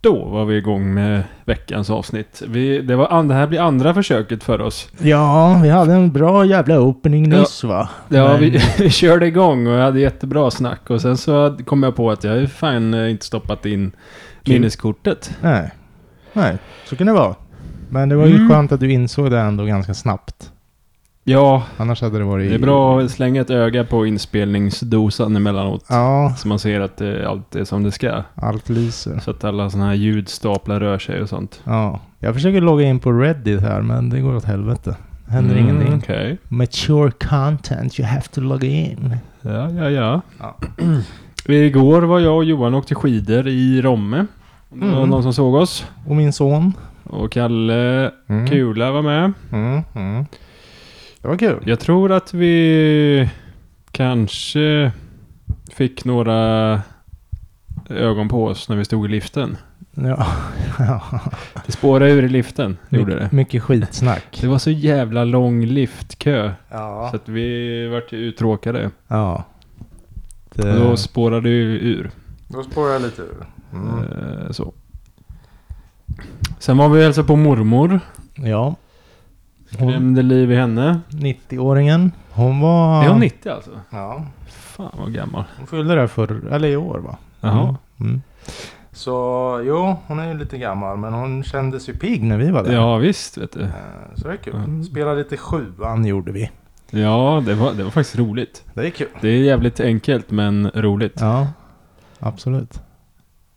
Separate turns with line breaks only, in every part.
Då var vi igång med veckans avsnitt. Vi, det, var, an- det här blir andra försöket för oss.
Ja, vi hade en bra jävla opening nyss va?
Ja,
Men-
vi, vi körde igång och hade jättebra snack. Och sen så kom jag på att jag har ju fan eh, inte stoppat in minneskortet.
Nej. Nej, så kan det vara. Men det var ju
Mm.
skönt att du insåg det ändå ganska snabbt.
Ja,
Annars hade det varit...
det är bra att slänga ett öga på inspelningsdosan emellanåt.
Ja,
Så man ser att eh, allt är som det ska.
allt lyser.
Så att alla sådana här ljudstaplar rör sig och sånt.
Ja, jag försöker logga in på Reddit här men det går åt helvete. Händer
Mm,
ingenting.
Okej.
Mature content, you have to log in.
Ja, ja, ja.
Ja.
Igår var jag och Johan och åkte skidor i Romme. Det var
Mm.
någon som såg oss.
Och min son.
Och Kalle
Mm.
Kula var med.
Mm, mm. Det var kul.
Jag tror att vi kanske fick några ögon på oss när vi stod i liften.
Ja.
Det spårade ur i liften, gjorde det.
My- mycket skitsnack.
Det var så jävla lång liftkö.
ja.
Så att vi vart ju uttråkade.
ja. Eh.
Och då spårade det ju ur.
Då spårar jag lite ur. Mm.
Eh, Så. Sen var vi och hälsade på mormor.
Ja. Hon,
Krämde liv i henne.
90-åringen. Hon var...
Är hon 90 alltså?
Ja.
Fan vad gammal.
Hon fyllde det förr, eller i år va?
Jaha.
Mm. Mm. Så jo, hon är ju lite gammal men hon kändes ju pigg när vi var där.
Ja visst vet du.
Eh, Så det är kul.
Mm.
Spela lite sjuan gjorde vi.
Ja det var, det var faktiskt roligt.
Det är kul.
Det är jävligt enkelt men roligt.
Ja, absolut.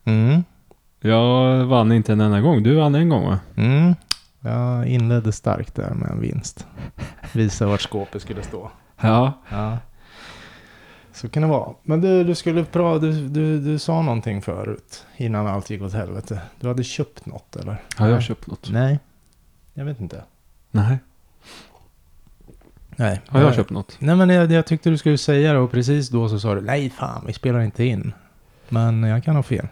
Mm.
Jag vann inte en enda gång. Du vann en gång va?
Mm. Jag inledde starkt där med en vinst. Visa vart skåpet skulle stå.
Ja.
Ja. Så kan det vara. Men du, du skulle pra, du, du, du sa någonting förut innan allt gick åt helvete. Du hade köpt något eller?
Har jag köpt något?
Nej. Jag vet inte.
Nej.
Nej.
Har jag köpt något?
Nej men jag, jag tyckte du skulle säga det och precis då så sa du nej fan vi spelar inte in. Men jag kan ha fel.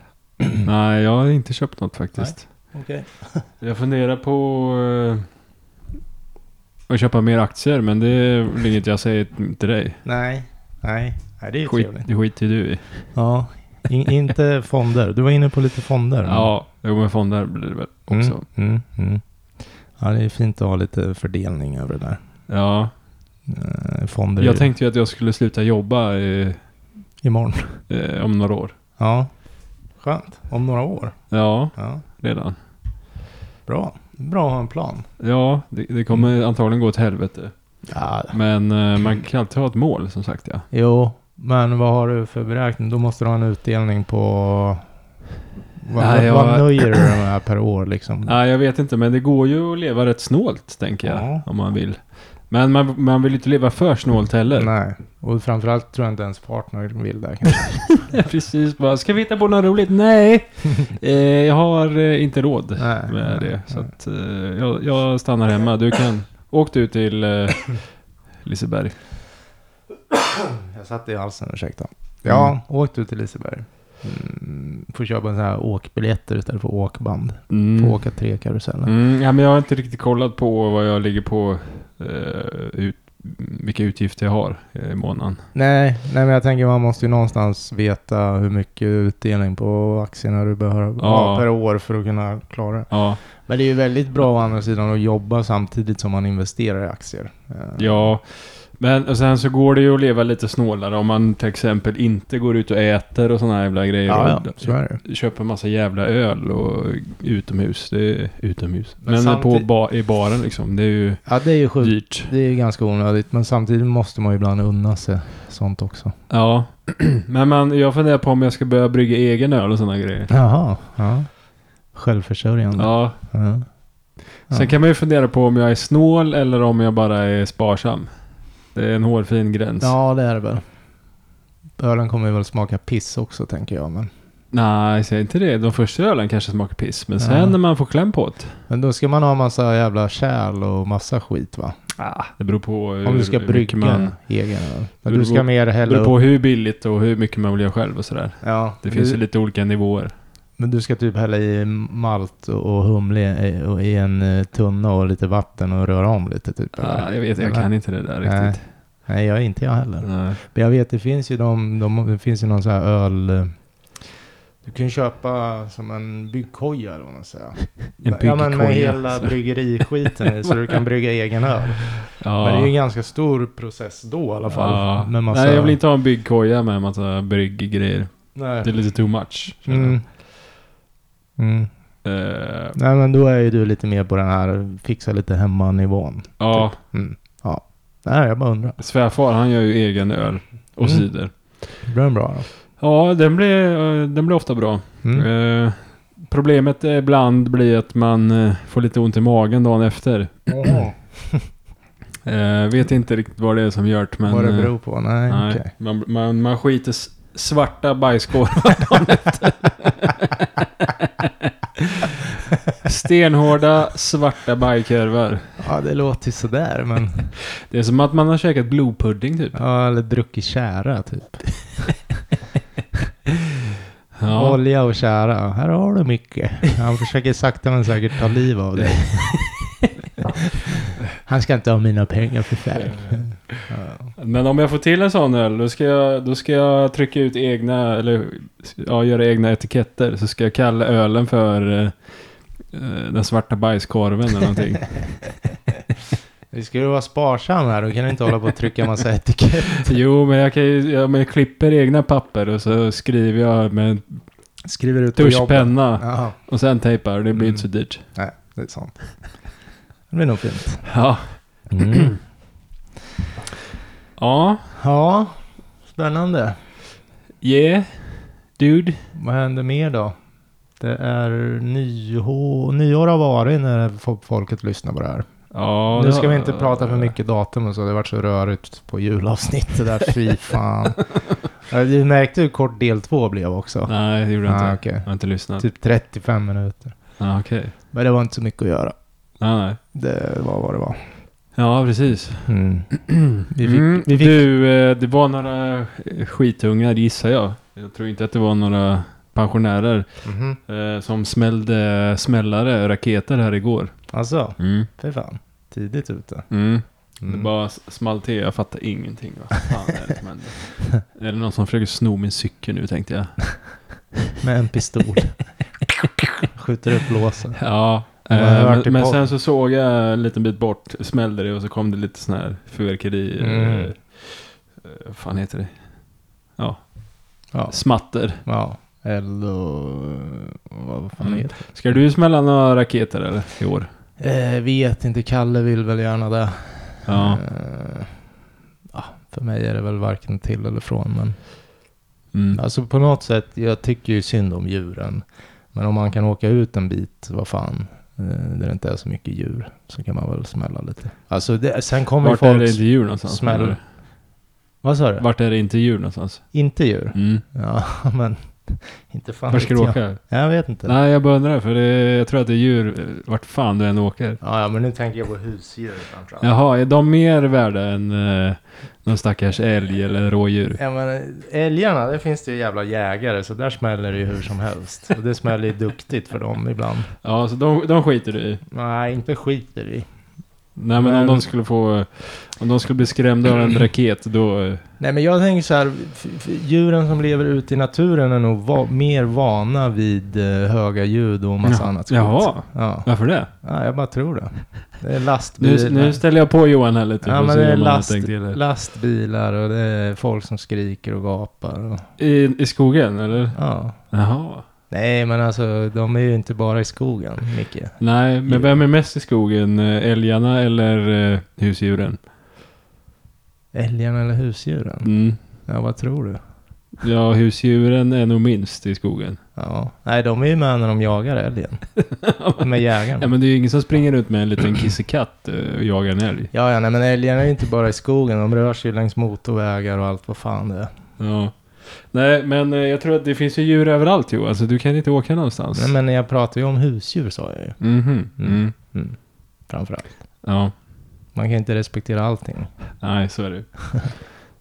Nej jag har inte köpt något faktiskt.
Okej.
Jag funderar på eh, att köpa mer aktier men det är väl inget jag säger till dig.
Nej. Nej. Nej det är ju
Skit,
trevligt.
det skiter ju du i.
Ja. In, inte fonder. Du var inne på lite fonder.
Ja, jo men fonder blir det väl också.
Mm, mm, mm. Ja det är fint att ha lite fördelning över det där.
Ja.
Eh, Fonder
Jag
i-
tänkte ju att jag skulle sluta jobba eh,
imorgon.
eh, om några år.
Ja. Skönt. Om några år.
Ja,
Ja.
redan.
Bra. Bra att ha en plan.
Ja, det, det kommer
Mm.
antagligen gå åt helvete.
Ja.
Men eh, man kan alltid ha ett mål som sagt
Mm.
ja.
Jo, men vad har du för beräkning? Då måste du ha en utdelning på... Vad,
Nej, jag-
vad nöjer du dig med per år liksom?
Nej, jag vet inte men det går ju att leva rätt snålt tänker jag.
Ja.
Om man vill. Men man, man vill ju inte leva för snålt heller.
Nej. Och framförallt tror jag inte ens partner vill det kanske.
Precis bara, ska vi hitta på något roligt? Nej, eh, jag har eh, inte råd
Nej,
med
nej,
det. Så
nej.
att, eh, jag, jag stannar hemma. Du kan, åk du till eh, Liseberg.
Jag satte i halsen, ursäkta. Ja, åk Mm. du till Liseberg. Mm, får köpa sådana här åkbiljetter istället för åkband. Får
Mm.
åka tre karuseller.
Mm, ja, men jag har inte riktigt kollat på vad jag ligger på, eh, ut, vilka utgifter jag har eh, i månaden.
Nej, nej, men jag tänker man måste ju någonstans veta hur mycket utdelning på aktierna du behöver ha
Ja.
per år för att kunna klara det.
Ja,
Men det är ju väldigt bra å andra sidan att jobba samtidigt som man investerar i aktier. Eh,
ja. Men och sen så går det ju att leva lite snålare om man till exempel inte går ut och äter och sådana här jävla grejer.
ja,
Och
ja, så är det.
köper massa jävla öl och utomhus. Det är utomhus.
Men
Men, på
samtidigt-
ba, i baren liksom. Det är ju
Ja, det är ju sjukt.
dyrt.
Det är ju ganska onödigt, men samtidigt måste man ju ibland unna sig sånt också.
Ja. Men man, jag funderar på om jag ska börja brygga egen öl och sådana grejer.
Jaha, ja. Självförsörjande.
Ja.
Mm. Ja.
Sen kan man ju fundera på om jag är snål eller om jag bara är sparsam. Det är en hårfin gräns.
ja, det är det väl. Ölen kommer ju väl smaka piss också, tänker jag. Men
Nej, säg inte det. De första ölen kanske smakar piss, men sen
Ja.
när man får kläm på det.
Men då ska man ha massa jävla kärl och massa skit va?
Ah, det beror på hur
Om du ska
hur mycket
brygga
man...
en egen öl. Men
Det
du
beror-
ska mer
Det
hälla
beror
upp.
på hur billigt och hur mycket man vill göra själv och sådär.
Ja,
Det
men
finns
du-
ju lite olika nivåer.
Men du ska typ hälla i malt och humle i- och i en eh, tunna och lite vatten och röra om lite typ?
Ah,
eller?
jag vet, jag
Eller?
kan Mm. inte det där
Nej.
riktigt.
Nej, jag är inte jag heller.
Nej.
Men jag vet, det finns ju, de, de, det finns ju någon sån här öl... eh, Du kan köpa som en byggkoja eller vad man säger.
En
Ja men med
byggkoja,
hela
alltså.
bryggeriskiten i så du kan brygga egen öl.
Ja.
Men det är ju en ganska stor process då i alla fall.
Ja.
Med massa,
Nej, jag vill inte ha en byggkoja med en massa brygggrejer.
Nej.
Det är lite too much. känner
Mm. Mm.
jag. Eh,
Nej men då är ju du lite mer på den här fixa lite hemma-nivån.
ja,
Mm. Ja. Nej, jag bara undrar.
svärfar han gör ju egen öl och
Mm.
cider.
Blir den bra då?
Ja, den blir, eh, den blir ofta bra.
Mm.
Eh, problemet är ibland blir att man eh, får lite ont i magen dagen efter.
Åh,
Eh, vet inte riktigt vad det är som gör det, men...
vad det
eh,
beror på? Nej,
nej,
okej.
man, man, man skiter s- svarta bajskorvar dagen efter. Stenhårda svarta bajkorvar.
Ja, det låter ju sådär men...
Det är som att man har käkat blodpudding typ.
ja, eller druckit tjära typ.
Ja.
Olja och tjära. Här har du mycket. Han försöker sakta men säkert ta liv av dig. Han ska inte ha mina pengar för färg. Ja.
Men om jag får till en sån öl, då ska jag, då ska jag trycka ut egna, eller ja, göra egna etiketter. Så ska jag kalla ölen för eh, eh, den svarta bajskorven eller någonting.
Vi ska ju vara sparsam här. Då kan du inte hålla på och trycka massa etikett.
jo, men jag kan ju, ja, men jag klipper egna papper och så skriver jag med en
Skriver ut
tuschpenna
Ja,
och sen tejpar. Det blir
Mm.
inte så dyrt.
nej, det är sant. Det blir nog fint.
Ja. Ja.
Ja, spännande.
Yeah. Dude.
Vad händer mer då? Det är nyår, nyår har varit när fo- folket lyssnar på det här.
Ja,
nu ska
det-
vi inte prata för mycket datum och så. Det har varit så rörigt på julavsnittet där. Fy fan. Ja, Du märkte hur kort del två blev också.
Nej, det gjorde jag inte.
Ah, okej.
Jag har inte lyssnat.
Typ 35 minuter.
Ah, Okej.
Men det var inte så mycket att göra.
Nej, nej.
Det var vad det var. Mm.
Ja, precis.
Vi fick,
Mm.
vi fick
Du, eh, det var några eh, skitungar gissar jag. Jag tror inte att det var några pensionärer
Mhm.
eh, som smällde smällare, raketer här igår.
Alltså,
Mm.
fy fan. Tidigt ute.
Mm. Det
Mm.
bara s- small till, jag fattar ingenting. Vad fan är det som händer? Är det någon som försöker sno min cykel nu tänkte jag.
Med en pistol. Skjuter upp låsen.
Ja,
Man har
eh,
hört i
men, men
podden.
sen så såg jag en liten bit bort, smällde det och så kom det lite sån här fyrverkeri. eh,
Mm.
eh, Vad fan heter det?
Ja.
Smatter.
ja. Eller vad fan
Mm.
heter
Ska du smälla några raketer eller i år?
det? Eh, vet inte, Kalle vill väl gärna det.
Ja.
Eh, ja, för mig är det väl varken till eller från. Men
Mm.
alltså på något sätt, jag tycker ju synd om djuren. Men om man kan åka ut en bit, vad fan, eh, där det inte är så mycket djur, så kan man väl smälla lite. Alltså det, sen kommer
Vart är
folk...
det inte djur någonstans?
smäll.
menar
Vad sa
du?
du?
Vart är det inte djur någonstans?
Inte djur?
Mm.
Ja, men inte fan
Var ska
vet
du
jag.
åka?
Jag vet inte.
Nej, jag bara undrar för det, jag tror att det är djur eh, vart fan du än åker.
Ja, ja, men nu tänker jag på husdjur framförallt.
Jaha, är de mer värda än eh, någon stackars älg eller rådjur?
Ja, men eh, älgarna, där finns det ju jävla jägare, så där smäller det ju hur som helst. Och det smäller ju duktigt för dem ibland.
Ja, så de, de skiter du i.
Nej, inte skiter i.
Nej, men, om
Men-
de skulle få... Om de skulle bli skrämda av en raket, då... eh,
Nej, men jag tänker så här, f- f- djuren som lever ute i naturen är nog va- mer vana vid eh, höga ljud och massa
Ja.
annat skit.
Jaha,
Ja.
varför det?
ja, jag bara tror det. Det är
Nu,
lastbilar.
nu ställer jag på Johan här lite.
ja,
för att
men
se
det är
om han har
last,
tänkt till det.
lastbilar och det är folk som skriker och gapar. Och,
I, I skogen, eller?
ja.
Jaha.
Nej, men alltså de är ju inte bara i skogen, Micke.
Nej, men
Djur.
vem är mest i skogen? Eh, Älgarna eller eh, husdjuren?
Älgarna eller husdjuren?
Mm.
Ja, vad tror du?
Ja, husdjuren är nog minst i skogen.
Ja. Nej, de är ju med när de jagar älgen. Med
Ja,
jägarna.
men det är ju ingen som springer ut med en liten kissekatt eh, och jagar en älg.
Ja, ja, nej, men älgarna är ju inte bara i skogen. De rör sig ju längs motorvägar och allt vad fan det är.
Ja. Nej, men eh, jag tror att det finns ju djur överallt Johan, så du kan inte åka någonstans.
Nej, men jag pratar ju om husdjur sa jag ju.
Mhm,
Mm.
mm.
Mm. Framförallt.
Ja,
Man kan inte respektera allting.
nej så är det.
Det
Ja,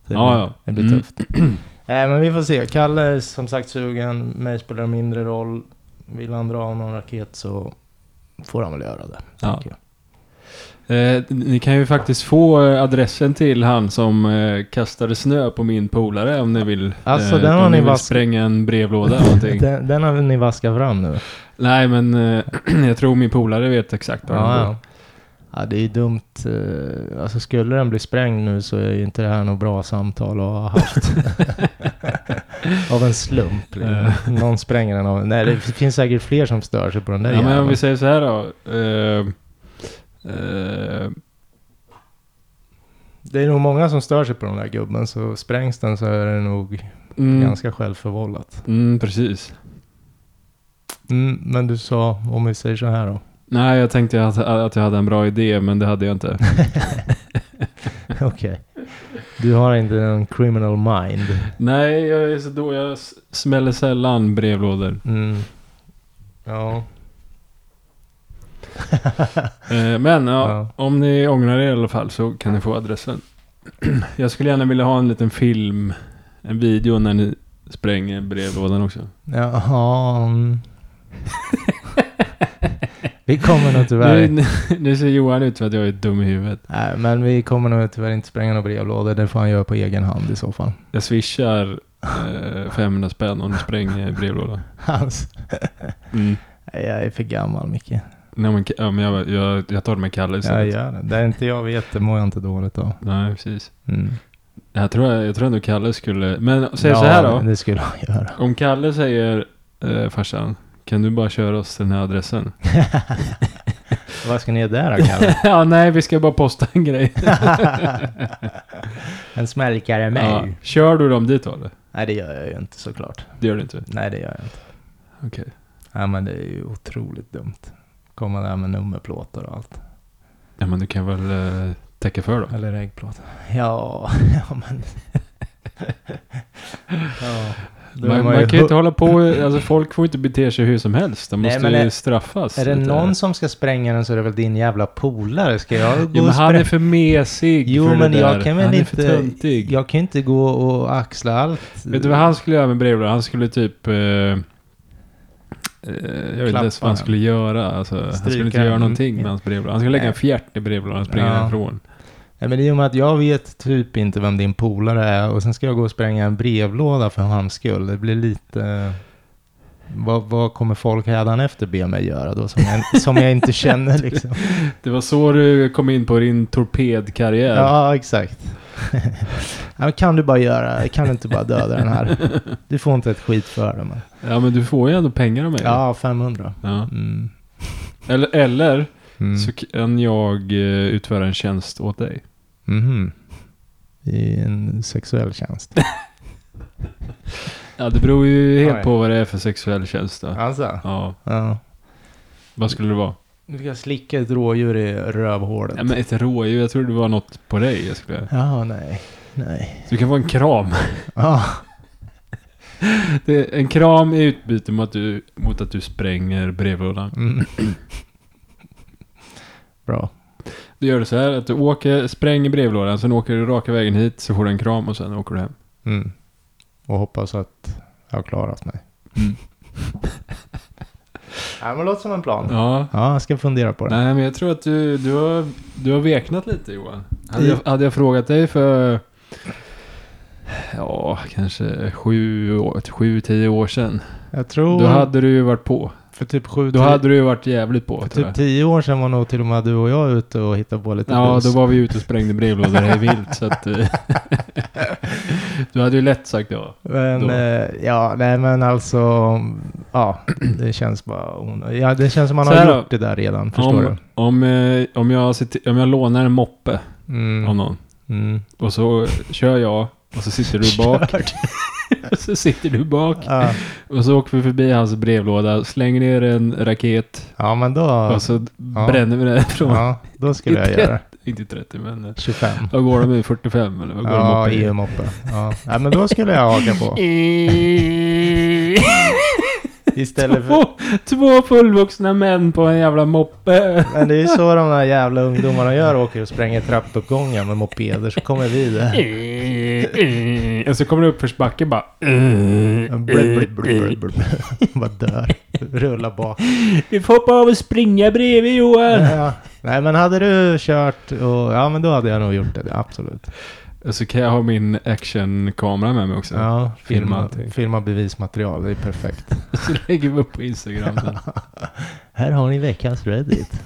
blir,
ja.
Det blir
Mm.
tufft. Nej, men vi får se. Kalle är som sagt sugen. Mig spelar det mindre roll. Vill han dra av någon raket så får han väl göra det.
Ja.
tänker jag.
Eh, ni kan ju faktiskt få eh, adressen till han som eh, kastade snö på min polare om ni vill. eh,
Alltså, den har
om
ni
vill
vask-
spränga en brevlåda eller någonting.
Den, den har ni vaskat fram nu.
Nej, men eh, jag tror min polare vet exakt var den
Ja,
bor.
ja. ja, det är ju dumt. eh, Alltså skulle den bli sprängd nu så är ju inte det här något bra samtal att ha haft. av en slump. Liksom. Någon spränger den av Nej, det finns säkert fler som stör sig på den där
Ja, men om
jäveln.
vi säger så här då. Eh, eh,
Det är nog många som stör sig på den där gubben så sprängs den så är det nog
mm,
ganska självförvållat.
mm, precis.
Mm, men du sa, om vi säger så här då.
Nej, jag tänkte att, att jag hade en bra idé, men det hade jag inte.
Okej. Du har inte en criminal mind.
Nej, jag är så då Jag s- smäller sällan brevlådor.
Mm. Ja.
Eh, men ja,
Ja.
om ni ångrar er i alla fall så kan ni få adressen. jag skulle gärna vilja ha en liten film, en video när ni spränger brevlådan också.
Jaha. mm. vi kommer nog tyvärr
Nu,
inte...
nu ser Johan ut för att jag är dum i huvudet.
Nej, men vi kommer nog tyvärr inte spränga några brevlådor. Det får han göra på egen hand i så fall.
Jag swishar eh, 500 spänn om du spränger brevlådan.
Hans.
Mm.
Alltså, Nej, jag är för gammal, Micke.
Nej, men, ja, men jag, jag, jag tar det med Kalle
Jag
istället.
gör det. Där inte jag vet, det mår jag inte dåligt av.
Nej, precis.
Mm.
Jag tror, jag tror ändå Kalle skulle... Men säg
ja,
så här då.
Det skulle han göra.
Om Kalle säger, eh, farsan, kan du bara köra oss till den här adressen?
Vad ska ni göra där då, Kalle?
ja, nej, vi ska bara posta en grej.
en smälkare med.
Ja. Kör du dem dit då eller?
Nej, det gör jag ju inte såklart.
Det gör du inte?
Nej, det gör jag inte.
Okej.
Nej, men det är ju otroligt dumt. Komma där med nummerplåtar och allt.
Ja, men du kan väl eh, täcka för dem?
Eller äggplåt. Ja, ja men... ja. då är
Man, man
ju
kan ju inte
hu-
hålla på, alltså folk får inte bete sig hur som helst. De
Nej,
måste
men
ju
är-
straffas.
Är det
lite.
någon som ska spränga den så är det väl din jävla polare. Ska jag gå
Jo, men
och
han är
spränga?
för mesig
Jo,
för
men
det
jag
där.
kan väl
Han är
inte-
för töntig.
Jag kan ju inte gå och axla allt.
Vet du vad han skulle göra med brevlådan? Han skulle typ... Eh, eh, jag vet inte
Klappa
ens vad han
den.
skulle göra. Alltså, han
Stryka
skulle inte göra
den.
någonting med hans brevlåda. Han skulle lägga en
Nej.
fjärt i brevlådan och springa
Ja.
därifrån.
Nej, men i och med att jag vet typ inte vem din polare är och sen ska jag gå och spränga en brevlåda för hans skull. Det blir lite... Vad, vad kommer folk hädanefter be mig göra då som jag, som jag inte känner liksom?
Det var så du kom in på din torpedkarriär.
Ja, exakt. ja, men kan du bara göra, kan du inte bara döda den här? Du får inte ett skit för det. Men.
Ja, men du får ju ändå pengar av mig.
Ja, 500.
Ja.
Mm.
Eller, eller
Mm.
så kan jag eh, utföra en tjänst åt dig.
Mhm. I en sexuell tjänst.
Ja, det beror ju helt
Oj.
på vad det är för sexuell tjänst då.
Alltså?
Ja,
Ja.
vad skulle det vara?
Du ska slicka ett rådjur i rövhålet.
Ja, men ett rådjur, jag tror det var något på dig. Jag skulle...
Ja, nej. Nej.
Du kan få en kram.
Ja.
Det, en kram i utbyte mot att du, mot att du spränger brevlådan.
Mm. Bra.
Du gör det så här att du åker, spränger brevlådan, sen åker du raka vägen hit, så får du en kram och sen åker du hem.
Mm. Och hoppas att jag har klarat mig.
Mm.
Nej, men låter som en plan. Ja.
Ja.
jag ska fundera på det.
Nej, men jag tror att du, du, har, du har veknat lite Johan. Hade jag, hade jag frågat dig för, ja, kanske sju, år- sju tio år sedan.
Jag tror...
Då hade du ju varit på.
för typ sju...
Då
tio-
hade du ju varit jävligt på.
för
tror
typ
jag.
tio år sedan var nog till och med du och jag ute och hittade på lite
Ja,
bus.
då var vi ute och sprängde brevlådor hej vilt. Så att, eh, du hade ju lätt sagt ja.
Men
då.
eh, ja, nej men alltså... Ja, det känns bara onödigt. Ja, det känns som man
Så
har
här då.
gjort det där redan. Förstår
om, Om, eh, om, jag, sitter, om jag lånar en moppe
du? Mm.
av någon
Mm.
och så kör jag och så sitter du bak. och så sitter du bak.
Ja.
Och så åker vi förbi hans brevlåda, slänger ner en raket
ja, men då...
och så bränner vi den från
Ja, då skulle jag göra det.
inte 30 men eh,
25.
vad går de i 45 eller vad går de
Ja,
upp i?
EU-moppe. Ja. ja, men då skulle jag haka på. Istället för...
Två, två fullvuxna män på en jävla moppe.
Men det är ju så de där jävla ungdomarna gör, åker och spränger trappuppgångar med mopeder, så kommer vi där.
Och så kommer det uppförsbacke bara.
Blub, blub, blub, blub, blub. Bara dör. Rullar bak.
Vi får hoppa av och springa bredvid Johan.
Ja. Nej, men hade du kört och... Ja, men då hade jag nog gjort det. Absolut.
Och Eh, så kan jag ha min actionkamera med mig också.
Ja,
filma
filma,
allting.
filma bevismaterial. Det är perfekt.
Så lägger vi upp på Instagram sen.
Här har ni veckans Reddit.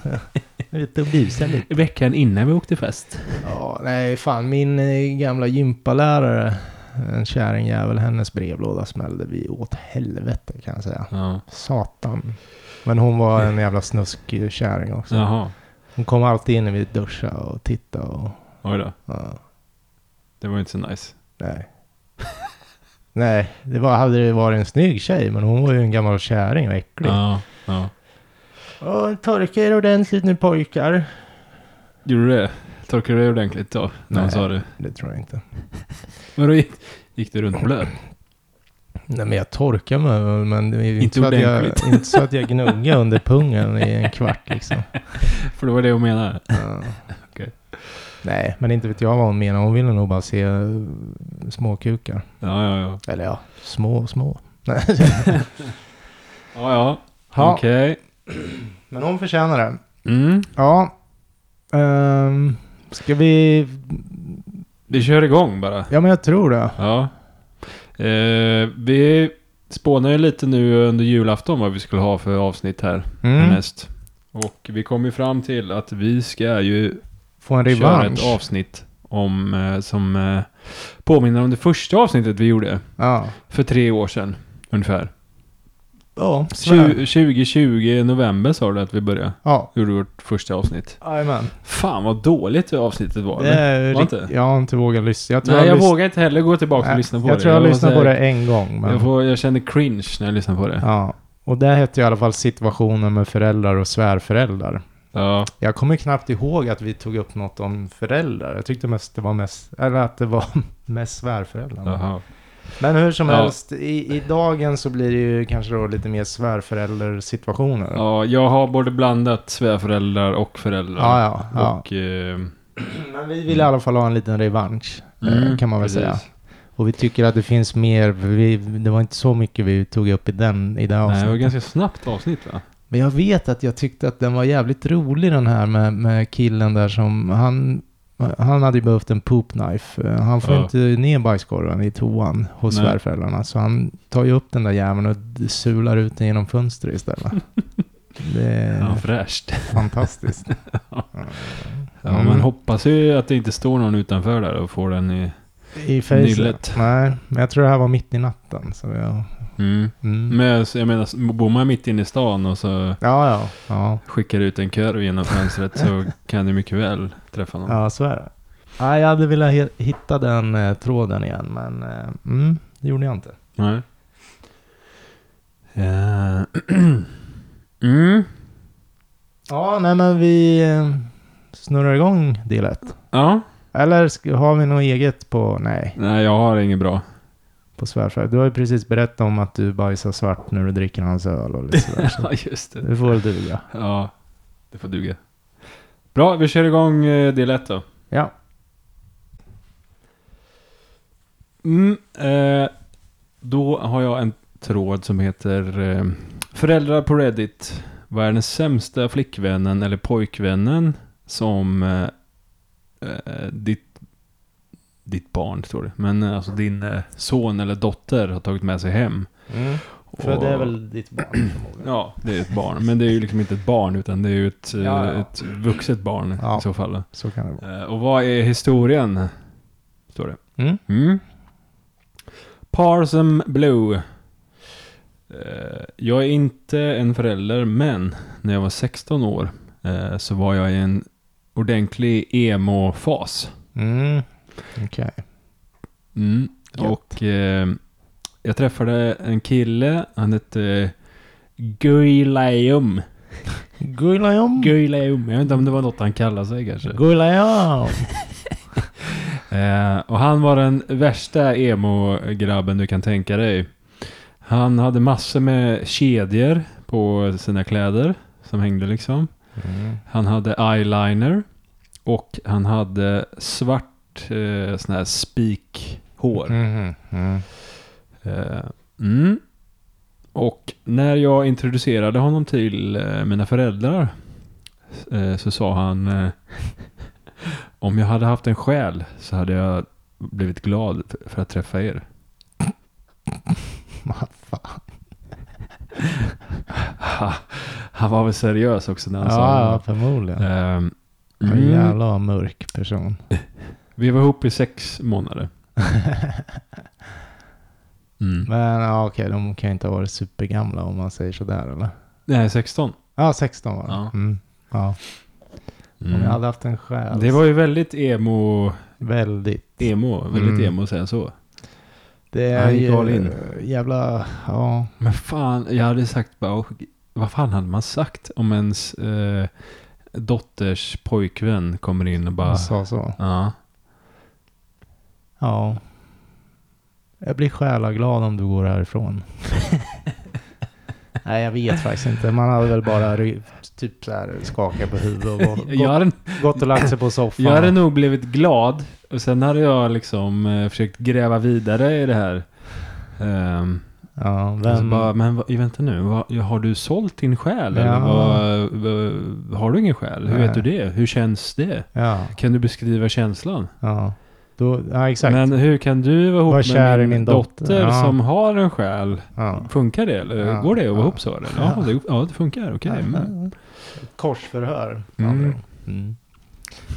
Ut och busa lite.
Veckan innan vi åkte fest.
Ja, nej fan. Min eh, gamla gympalärare, en kärringjävel, hennes brevlåda smällde vi åt helvete kan jag säga.
Ja.
Satan. Men hon var en jävla snuskig kärring också.
Mm. Jaha.
Hon kom alltid in när vi duschade och tittade och...
Oj då.
Ja,
Det var ju inte så nice.
nej. nej, det var, hade det varit en snygg tjej, men hon var ju en gammal kärring och äcklig.
Ja. ja.
Åh, torka er ordentligt nu pojkar.
Gjorde du det? Torkade du dig ordentligt då? När han
Nej.
sa det.
Det tror jag inte.
Men då gick, gick du runt blöt?
Nej men jag torkar mig väl, men det är ju
Inte
inte, så att jag,
ordentligt.
inte så att jag gnuggar under pungen i en kvart liksom.
För det var det jag menade.
Ja.
Okej.
Nej, men inte vet jag vad hon menar. Hon ville nog bara se eh, småkukar.
Ja, ja, ja.
Eller ja, små små. Nej.
Ja, ja.
Ja,
Okej.
Men hon förtjänar det.
Mm.
Ja. Ehm, ska vi...
Vi kör igång bara.
Ja men jag tror det.
Ja. Eh, vi spånar ju lite nu under julafton vad vi skulle ha för avsnitt här
Mm.
härnäst. Och vi kom ju fram till att vi ska ju
Få en
köra ett
revansch.
avsnitt om, eh, som eh, påminner om det första avsnittet vi gjorde
Ja.
för tre år sedan ungefär.
Ja,
Tju-
sådär.
2020 november sa du att vi började.
Ja.
Gjorde vårt första avsnitt.
Jajamän.
Fan vad dåligt det avsnittet var.
Det
eller?
är
Var
rikt-
inte?
Jag har inte vågat lyssna. Jag tror
Nej, jag
lyssn-
vågar inte heller gå tillbaka och
Nej,
lyssna på
jag
det.
tror jag
var
lyssnade
så
på
här-
det en gång. Men,
Jag, får, jag kände cringe när jag lyssnade på det.
ja. Och där hette jag i alla fall situationen med föräldrar och svärföräldrar.
Ja.
Jag kommer knappt ihåg att vi tog upp något om föräldrar. Jag tyckte mest det var mest, eller att det var mest svärföräldrar.
Jaha.
Men hur som
Ja.
helst, i, i dagen så blir det ju kanske då lite mer svärföräldersituationer.
Ja, jag har både blandat svärföräldrar och föräldrar.
Ja, ja, ja.
Och, eh,
Men vi vill i alla fall ha en liten revansch, eh,
mm,
kan man väl
precis.
säga. Och vi tycker att det finns mer, för vi, det var inte så mycket vi tog upp i den, i det här
Nej, det
avsnittet.
var ganska snabbt avsnitt va?
Men jag vet att jag tyckte att den var jävligt rolig den här med, med killen där som han... Han hade ju behövt en poop knife. Eh, Han får
Ja.
inte ner bajskorven i toan hos
Nej.
svärföräldrarna. Så han tar ju upp den där jäveln och d- sular ut den genom fönstret istället. det är
Ja, fräscht.
fantastiskt.
Ja,
Mm.
Man hoppas ju att det inte står någon utanför där och får den i...
I facet.
Nyllet.
Nej, men jag tror det här var mitt i natten. Så jag,
Mm.
mm.
Men jag- jag menar, bor man mitt inne i stan och så
Ja, ja, ja.
skickar ut en korv genom fönstret så kan du mycket väl träffa någon.
Ja, så är det. Nej, jag hade velat he- hitta den eh, tråden igen, men eh, mm, det gjorde jag inte.
Nej. Eh, Ja. mm.
Ja, nej men vi eh, snurrar igång del ett.
Ja.
Eller sk- har vi något eget på... Nej,
Nej, jag har inget bra.
på svärfar. Du har ju precis berättat om att du bajsar svart när du dricker hans öl och lite sådär. Så
Ja, just det.
det får väl duga.
Ja, det får duga. Bra, vi kör igång eh, del 1 då.
Ja.
Mm, eh, då har jag en tråd som heter eh, Föräldrar på Reddit. Vad är den sämsta flickvännen eller pojkvännen som eh, eh, ditt, ditt barn, står det. Men eh, alltså din eh, son eller dotter har tagit med sig hem.
Mm. För
Och-
det är väl ditt barn förmodligen.
Ja, det är ett barn. Men det är ju liksom inte ett barn, utan det är ju ett, eh,
Ja, ja.
ett vuxet barn
Ja.
i så fall.
Så kan det vara.
Eh, Och vad är historien? Står det.
Mm.
Mm. Parsem Blue. Eh, Jag är inte en förälder, men när jag var 16 år eh, så var jag i en ordentlig emo-fas.
Mm. Okej.
Mm.
Gött.
Och eh, jag träffade en kille, han hette Guy Liam.
Guillaume.
Guillaume. Jag vet inte om det var något han kallade sig kanske.
Guillaume.
Eh, och han var den värsta emo-grabben du kan tänka dig. Han hade massor med kedjor på sina kläder som hängde liksom.
Mm.
Han hade eyeliner och han hade svart eh, sån här spikhår.
Mhm, mm.
Eh, mm. Och när jag introducerade honom till eh, mina föräldrar eh, så sa han eh, om jag hade haft en själ så hade jag blivit glad f- för att träffa er.
Vad fan.
Ha, han var väl seriös också när han
Ja, ja,
sa
förmodligen.
det. Ehm,
Mm.
mm,
Jävla mörk person.
vi var ihop i sex månader. Mm.
Men ja, okej, de kan ju inte ha varit supergamla om man säger sådär eller?
Nej, 16.
Ja, 16 var det.
Ja.
Mm. Ja. Om jag
Mm.
hade haft en själ.
Det var ju väldigt emo,
Väldigt.
emo, väldigt
Mm.
emo att säga så.
Det är
Han gick all
ju
in.
jävla, ja.
Men fan, jag hade sagt bara, "Åh, vad fan hade man sagt om ens eh, dotters pojkvän kommer in och bara,
Han sa så.
ja,
Ja. Jag blir själaglad om du går härifrån. Nej, jag vet faktiskt inte. Man hade väl bara ry- typ så här skakat på huvudet och gå- gått,
jag hade,
gått och lagt sig på soffan.
jag hade nog blivit glad och sen hade jag liksom eh, försökt gräva vidare i det här. Ehm,
Ja,
och så
vem,
bara, men vad- vänta nu, vad, har du sålt din själ? Eller
Ja.
vad, vad, har du ingen själ? Hur vet du
Nej.
det? Hur känns det?
ja,
Kan du beskriva känslan?
ja. Då, ja, exakt.
Men hur kan du vara ihop
Var kär
med
i
min,
min
dotter,
dotter? Ja.
som har en själ?
ja.
Funkar det? Eller
Ja,
går det att vara
ja.
ihop så? Eller? Ja, det, ja, det funkar. Okej. Mm.
Ett korsförhör.
Mm.
Mm.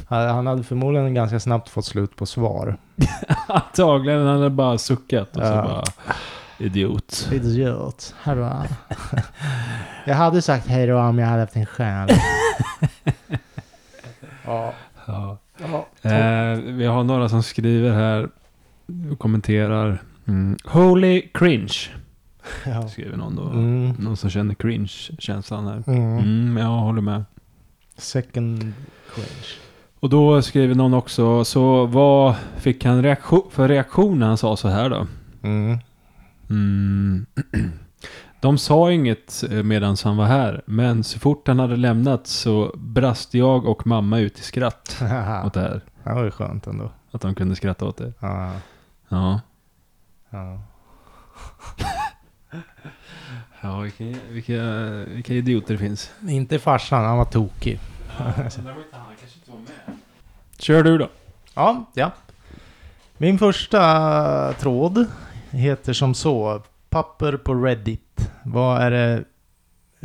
Han han hade förmodligen ganska snabbt fått slut på svar.
Antagligen han hade bara suckat och så
Ja.
bara... Idiot.
Idiot. Hejdå. jag hade sagt hej då om jag hade haft en själ. ja.
Ja.
ja.
Eh, vi har några som skriver här och kommenterar. Mm. Holy cringe,
ja.
skriver någon då.
Mm.
Någon som känner cringe-känslan här.
Mm.
Mm, jag håller med.
Second cringe.
Och då skriver någon också, så vad fick han reaktion, för reaktion när han sa så här då?
Mm.
Mm. De sa inget eh, medan han var här, men så fort han hade lämnat så brast jag och mamma ut i skratt åt det här.
det var ju skönt ändå.
Att de kunde skratta åt det.
Ja.
Ja.
Ja.
Ja, vilka, vilka, vilka idioter det finns.
Inte farsan, han var tokig.
Kör du då.
Ja, ja. Min första tråd heter som så. Papper på Reddit. Vad är det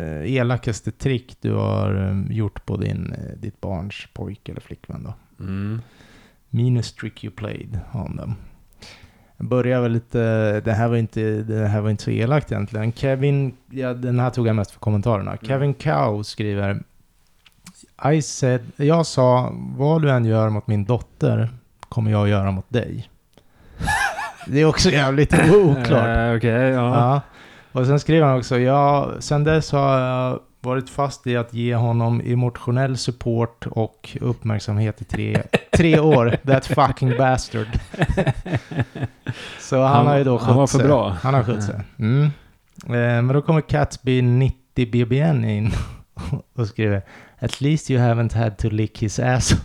eh, elakaste trick du har eh, gjort på din, eh, ditt barns pojke eller flickvän då?
Mm.
Minus trick you played on them. Jag börjar väl lite, det här var inte, det här var inte så elakt egentligen. Kevin, ja, den här tog jag mest för kommentarerna. Kevin Cow skriver I said, jag sa, vad du än gör mot min dotter kommer jag att göra mot dig. det är också jävligt oklart.
Eh, Okej, ja.
Ja. Och sen skriver han också, ja, sen dess har jag varit fast i att ge honom emotionell support och uppmärksamhet i tre, tre år. That fucking bastard. Så han,
Han-
har ju då
han var för
sig.
bra.
Han har skött sig. Mm. Eh, men då kommer Catsby 90 BBN in och skriver At least you haven't had to lick his ass.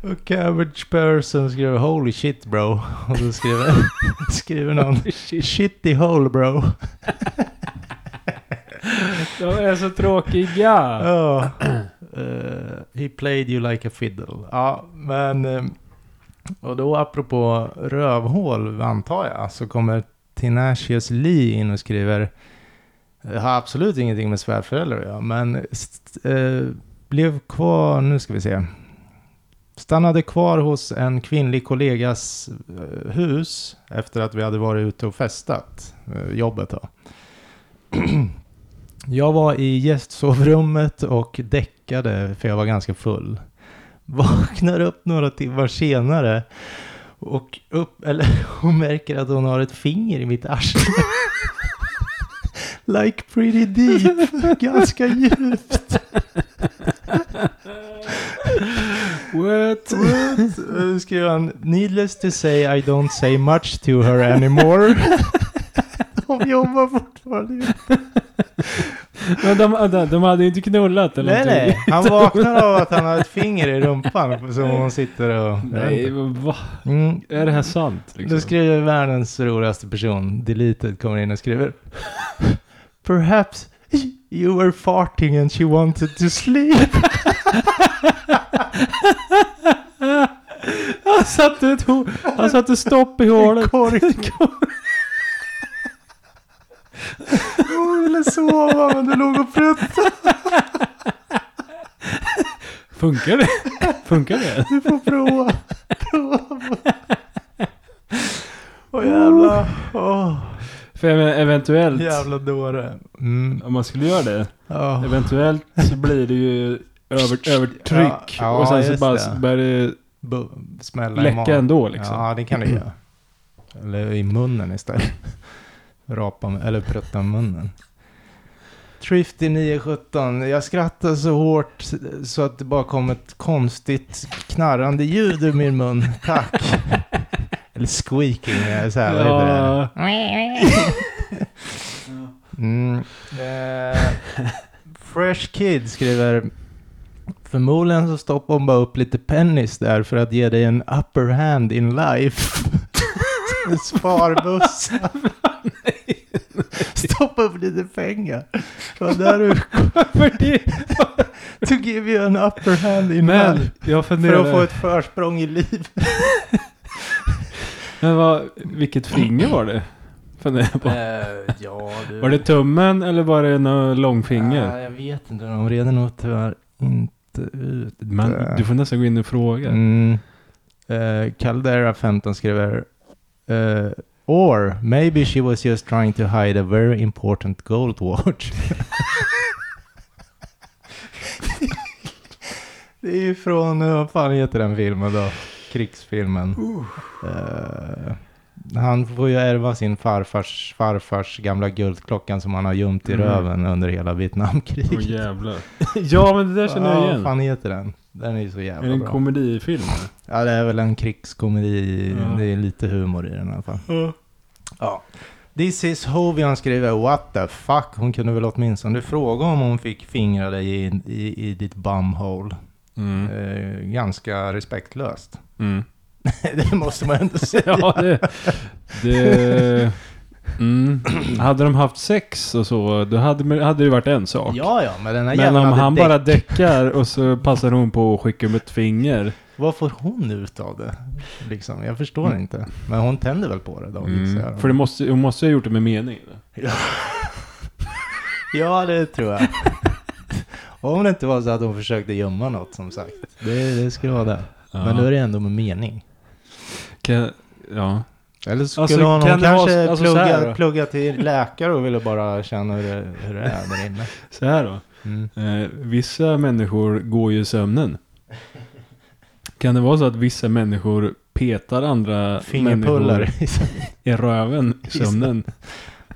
Och Cabbage Person skriver Holy shit bro. Och då skriver, skriver någon Shitty hole bro.
De är så tråkiga.
Ja. Eh, he played you like a fiddle. Ja, men... eh, och då apropå rövhål, antar jag, så kommer Tinashius Lee in och skriver... Jag har absolut ingenting med svärföräldrar att göra, men... St- eh, blev kvar... Nu ska vi se. Stannade kvar hos en kvinnlig kollegas eh, hus efter att vi hade varit ute och festat, eh, jobbet då. Jag var i gästsovrummet och däckade för jag var ganska full. Vaknar upp några timmar senare och, upp, eller, och märker att hon har ett finger i mitt arsle. Like pretty deep, ganska djupt.
What?
Nu skriver han, needless to say I don't say much to her anymore. De jobbar fortfarande.
Men de, de, de hade ju inte knullat eller
Nej,
någonting.
nej. Han vaknar av att han har ett finger i rumpan som hon sitter och...
Nej, men va?
Mm.
Är det här sant? liksom?
Då skriver världens roligaste person, Deleted, kommer in och skriver. Perhaps you were farting and she wanted to sleep.
Han satte, ett, ho- han satte stopp i hålet.
Kork. Hon ville sova men du låg och pruttade.
Funkar det? Funkar det?
Du får prova. Prova. Åh jävla. Åh,
För jag menar, eventuellt,
jävla dåre. Mm.
om man skulle göra det,
Ja.
Oh. eventuellt så blir det ju över, övertryck.
Ja, ja,
och sen så
just
bara
det.
börjar det
Bu- Smälla i
läcka
magen.
ändå liksom.
Ja, det kan det göra. Eller i munnen istället. Rapa med, eller prutta med munnen. Trifty 917. Jag skrattade så hårt så att det bara kom ett konstigt knarrande ljud ur min mun. Tack. eller squeaking, eller så här, vad heter det?
Ja,
Mm. Eh, Fresh Kid skriver Förmodligen så stoppar hon bara upp lite pennis där för att ge dig en upper hand in life. En Sparbuss. Stoppa upp lite pengar. Det var där du
för det.
to give you an upper hand in
Men
life.
jag
För att få
funderar.
ett försprång i livet.
Men vad, vilket finger var det? Funderar jag på.
eh, ja,
Var det tummen eller var det något långfinger?
Nej, jag vet inte. De reder nog tyvärr inte ut.
Men du får nästan gå in och fråga.
Mm. Eh, Caldera 15 skriver eh, Or maybe she was just trying to hide a very important gold watch. Det är ju från, eh, vad fan heter den filmen då? Krigsfilmen. Eh, han får ju ärva sin farfars farfars gamla guldklockan som han har gömt i
Mm.
röven under hela Vietnamkriget.
Åh jävlar. ja men det där känner jag
Ja,
igen.
Vad fan heter den? Den är ju så jävla
Oh, är det en
bra.
komedifilm?
Ja, det är väl en krigskomedi.
Ja.
Det är lite humor i den i alla fall. Ja. This is Hovian skriver What the fuck? Hon kunde väl åtminstone fråga om hon fick fingra dig i, i, i ditt bumhole.
Mm.
Eh, ganska respektlöst.
Mm.
det måste man ändå säga.
Ja det... det mm. Hade de haft sex och så, då hade, hade det varit en sak.
ja, ja, men den här
Men
jäveln
om
hade
han
däck.
bara däckar och så passar hon på att skicka med ett finger.
Vad får hon ut av det? Liksom, jag förstår
Mm.
inte. Men hon tänder väl på det då, gissar
Mm.
jag.
För det måste, hon måste ju ha gjort det med mening.
Ja, det tror jag. Om det inte var så att hon försökte gömma något, som sagt. Det, det skulle vara det.
Ja.
Men då är det ändå med mening.
Kan, ja.
Eller skulle
Alltså,
hon
kan
hon
det vara-
kanske
alltså, så här
plugga,
då?
plugga till läkare och ville bara känna hur det, hur det är där inne?
Så här då.
Mm.
Eh, vissa människor går ju i sömnen. Kan det vara så att vissa människor petar andra människor
Fingerpullar.
i röven i sömnen?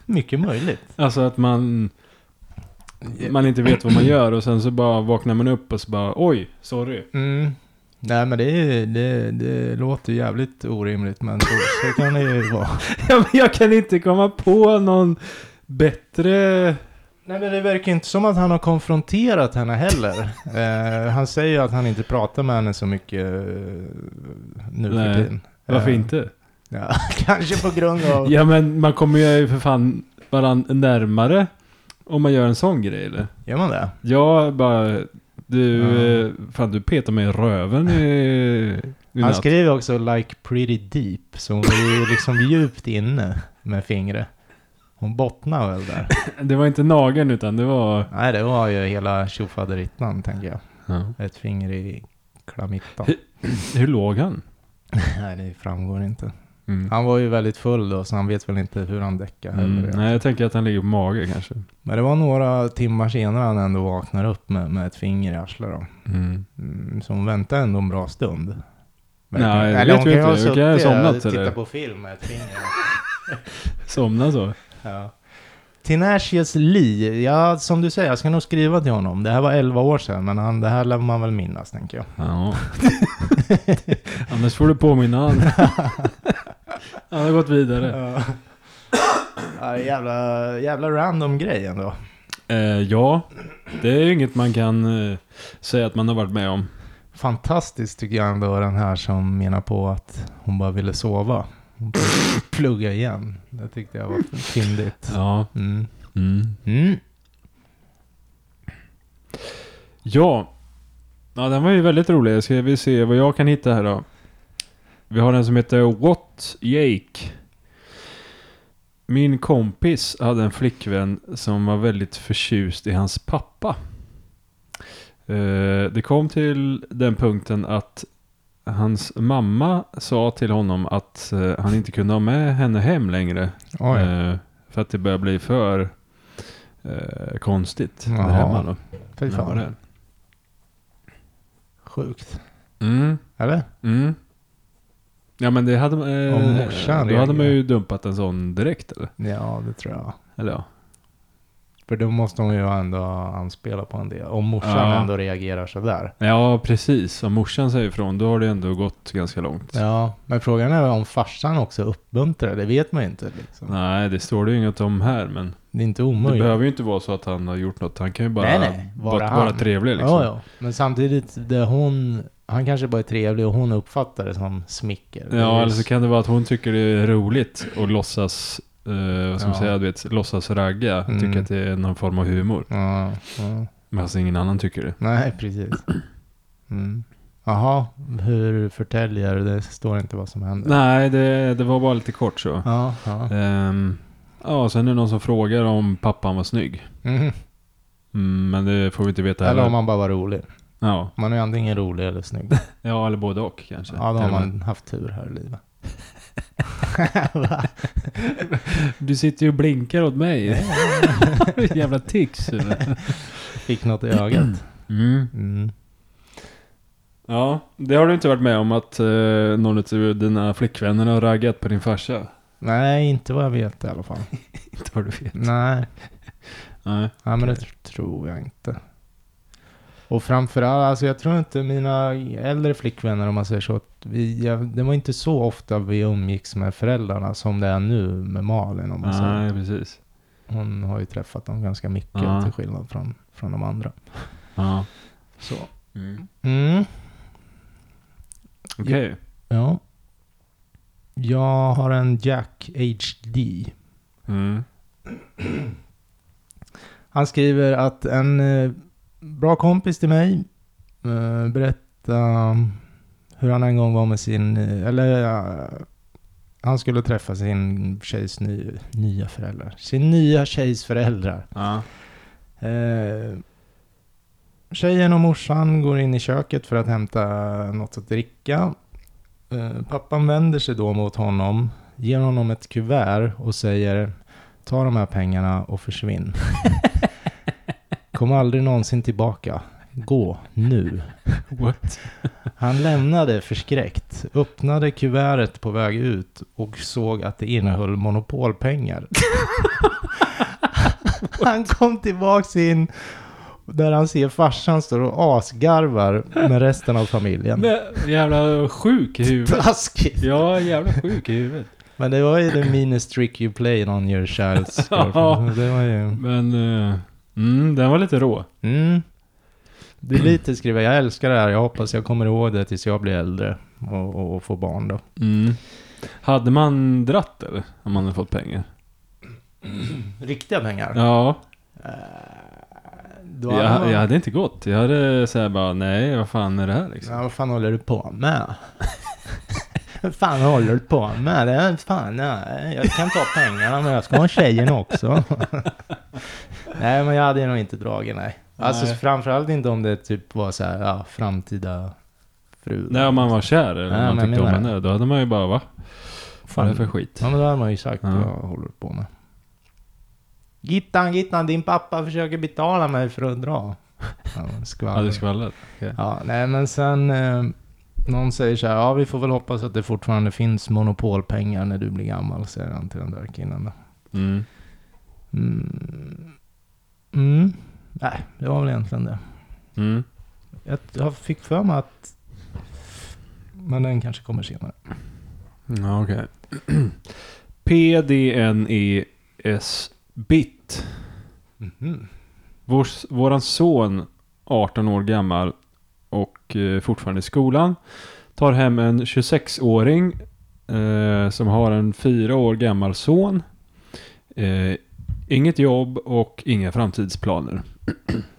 Mycket möjligt.
Alltså att man, man inte vet vad man gör och sen så bara vaknar man upp och så bara oj, sorry.
Mm. Nej men det, är- det, det låter ju jävligt orimligt men så, så kan det ju vara.
Ja, men jag kan inte komma på någon bättre...
Nej men det verkar inte som att han har konfronterat henne heller. Eh, han säger ju att han inte pratar med henne så mycket eh, nu
Nej.
för tiden.
Varför
Eh,
inte?
Ja, kanske på grund av...
Ja men man kommer ju för fan varandra närmare om man gör en sån grej eller?
Gör man det?
Jag bara... Du...
Ja.
eh, Fan, du petar mig i röven i... i
Han
natt.
skriver också like pretty deep, så hon är ju liksom djupt inne med fingret. Hon bottnar väl där.
Det var inte nageln utan det var...
Nej, det var ju hela tjofaderittan tänker jag.
Ja.
Ett finger i klamittan.
Hur låg han?
Nej, det framgår inte.
Mm.
Han var ju väldigt full då, så han vet väl inte hur han däckade heller.
Mm. Nej, jag tänker att han ligger på mage kanske.
Men det var några timmar senare han ändå vaknar upp med, med ett finger i arslet då.
Mm.
Mm, så hon väntade ändå en bra stund.
Nej, det
Eller
vet
hon
vi
kan ju ha
inte. Hon kan ju ha
suttit och
somnat,
tittat
eller?
på film med ett finger.
Somna så.
Ja. Tenacious Lee, ja som du säger, jag ska nog skriva till honom. Det här var 11 år sedan, men han, det här lär man väl minnas tänker jag.
Ja. Annars får du påminna han. Han har gått vidare.
Ja. Ja, jävla, jävla random grej ändå.
Eh, ja, det är ju inget man kan eh, säga att man har varit med om.
Fantastiskt tycker jag ändå den här som menar på att hon bara ville sova. Hon Plugga igen. Det tyckte jag var fyndigt.
Ja.
Mm.
Mm.
Mm.
Ja. ja, den var ju väldigt rolig. Ska vi se vad jag kan hitta här då. Vi har en som heter What Jake. Min kompis hade en flickvän som var väldigt förtjust i hans pappa. Eh, Det kom till den punkten att hans mamma sa till honom att eh, han inte kunde ha med henne hem längre.
Oj.
Eh, För att det började bli för eh, konstigt. där
Jaha.
hemma då.
Fy
Ja, det är
fan.
det.
Sjukt.
Mm,
Eller?
mm. Ja men det hade man...
Om
Eh,
morsan
då hade man
reagerar.
ju dumpat en sån direkt eller?
Ja, det tror jag.
Eller ja.
För då måste hon ju ändå anspela på en del. Om morsan
Ja.
ändå reagerar sådär.
Ja precis, om morsan säger ifrån då har det ändå gått ganska långt.
Ja, men frågan är om farsan också uppmuntrar. Det vet man ju inte. Liksom.
Nej det står det ju inget om här men
Det är inte
det
omöjligt.
behöver ju inte vara så att han har gjort något. Han kan ju bara
Nej, nej. Bara
vara,
han.
vara trevlig liksom.
Ja, ja. Men samtidigt, det hon, han kanske bara är trevlig och hon uppfattar det som smicker. Det
Ja,
är-
eller så kan det vara att hon tycker det är roligt och låtsas, eh, vad ska man
Ja.
säga, du vet, låtsas ragga.
Mm.
Tycker att det är någon form av humor.
Ja, ja.
Men alltså ingen annan tycker det.
Nej, precis. Mm. Jaha, hur förtäljer du? Det står inte vad som händer.
Nej, det, det var bara lite kort så.
Ja, ja.
Ehm, ja, sen är det någon som frågar om pappan var snygg.
Mhm.
Mm, men det får vi inte veta
Eller
heller.
om man bara var rolig.
ja.
Man är antingen rolig eller snygg.
ja, eller både och kanske.
Ja, då har
Eller-
man haft tur här i livet.
Du sitter ju och blinkar åt mig. Jävla tics. eller?
Fick något i ögat.
Mm.
Mm.
Ja, det har du inte varit med om att eh, någon av dina flickvänner har raggat på din farsa?
Nej, inte vad jag vet i alla fall.
Inte vad du vet.
Nej,
Nej.
nej men det tr- tror jag inte. Och framförallt, alltså jag tror inte mina äldre flickvänner om man säger så. Att vi, jag, det var inte så ofta vi umgicks med föräldrarna som det är nu med Malin om man säger.
Nej, precis.
Hon har ju träffat dem ganska mycket
Ja.
till skillnad från, från de andra.
Ja.
Så.
Mm.
Mm.
Okej.
Ja. Jag har en Jack HD.
Mm.
Han skriver att en eh, bra kompis till mig eh, berättade hur han en gång var med sin, eh, eller eh, han skulle träffa sin tjejs ny, nya föräldrar. Sin nya tjejs föräldrar.
Ja.
Eh, tjejen och morsan går in i köket för att hämta något att dricka. Eh, pappan vänder sig då mot honom, ger honom ett kuvert och säger ta de här pengarna och försvinn. Kom aldrig någonsin tillbaka. Gå nu.
What?
Han lämnade förskräckt, öppnade kuvertet på väg ut och såg att det innehöll monopolpengar. han kom tillbaks in där han ser farsan står och asgarvar med resten av familjen.
Men, jävla sjuk i huvudet.
Taskigt!
Ja, jävla sjuk i huvudet.
Men det var ju the meanest trick you played on your child's girlfriend. Det var ju...
Men, eh, mm, den var lite rå.
Mm. Det är lite skriva, jag älskar det här, jag hoppas jag kommer ihåg det tills jag blir äldre och, och, och får barn då.
Mm. Hade man dratt eller? Om man hade fått pengar?
Riktiga pengar? Eh,
Ja,
Då hade
jag,
man-
jag hade inte gått. Jag hade såhär bara, nej vad fan är det här liksom?
Ja, vad fan håller du på med? vad fan håller du på med? Det är fan, nej. Jag kan ta pengarna men jag ska ha tjejen också. nej men jag hade nog inte dragit nej. Alltså
Nej.
framförallt inte om det typ var så här, ja, framtida fru.
Nej, om man var kär eller
Ja,
om man
men
tyckte om
jag menar
henne. Då hade man ju bara, va? Vad
Fan.
är det för skit?
Ja men då hade man ju sagt
Ja.
vad jag håller du på med. Gittan, Gittan, din pappa försöker betala mig för att dra. Ja, skvaller.
Hade skvallrat?
Ja, nej men sen... Eh, någon säger så här, ja vi får väl hoppas att det fortfarande finns monopolpengar när du blir gammal, säger han till den där killen. då.
Mm.
Mm. Mm. Nej, det var väl egentligen det.
Mm.
Jag, jag fick för mig att... Men den kanske kommer senare.
Ja, okej. E PDNES Bit.
Mm-hmm.
Vår, våran son, 18 år gammal och eh, fortfarande i skolan, tar hem en 26-åring eh, som har en 4 år gammal son. Eh, inget jobb och inga framtidsplaner.